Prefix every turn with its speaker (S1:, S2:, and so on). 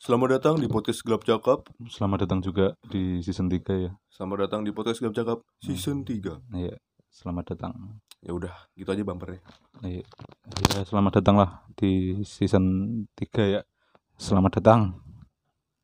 S1: Selamat datang di podcast Gelap Cakap.
S2: Selamat datang juga di season 3 ya.
S1: Selamat datang di podcast Gelap Cakap season 3.
S2: Iya, selamat datang.
S1: Ya udah, gitu aja bumpernya.
S2: Iya, ya, selamat datang lah di season 3 ya. Selamat datang.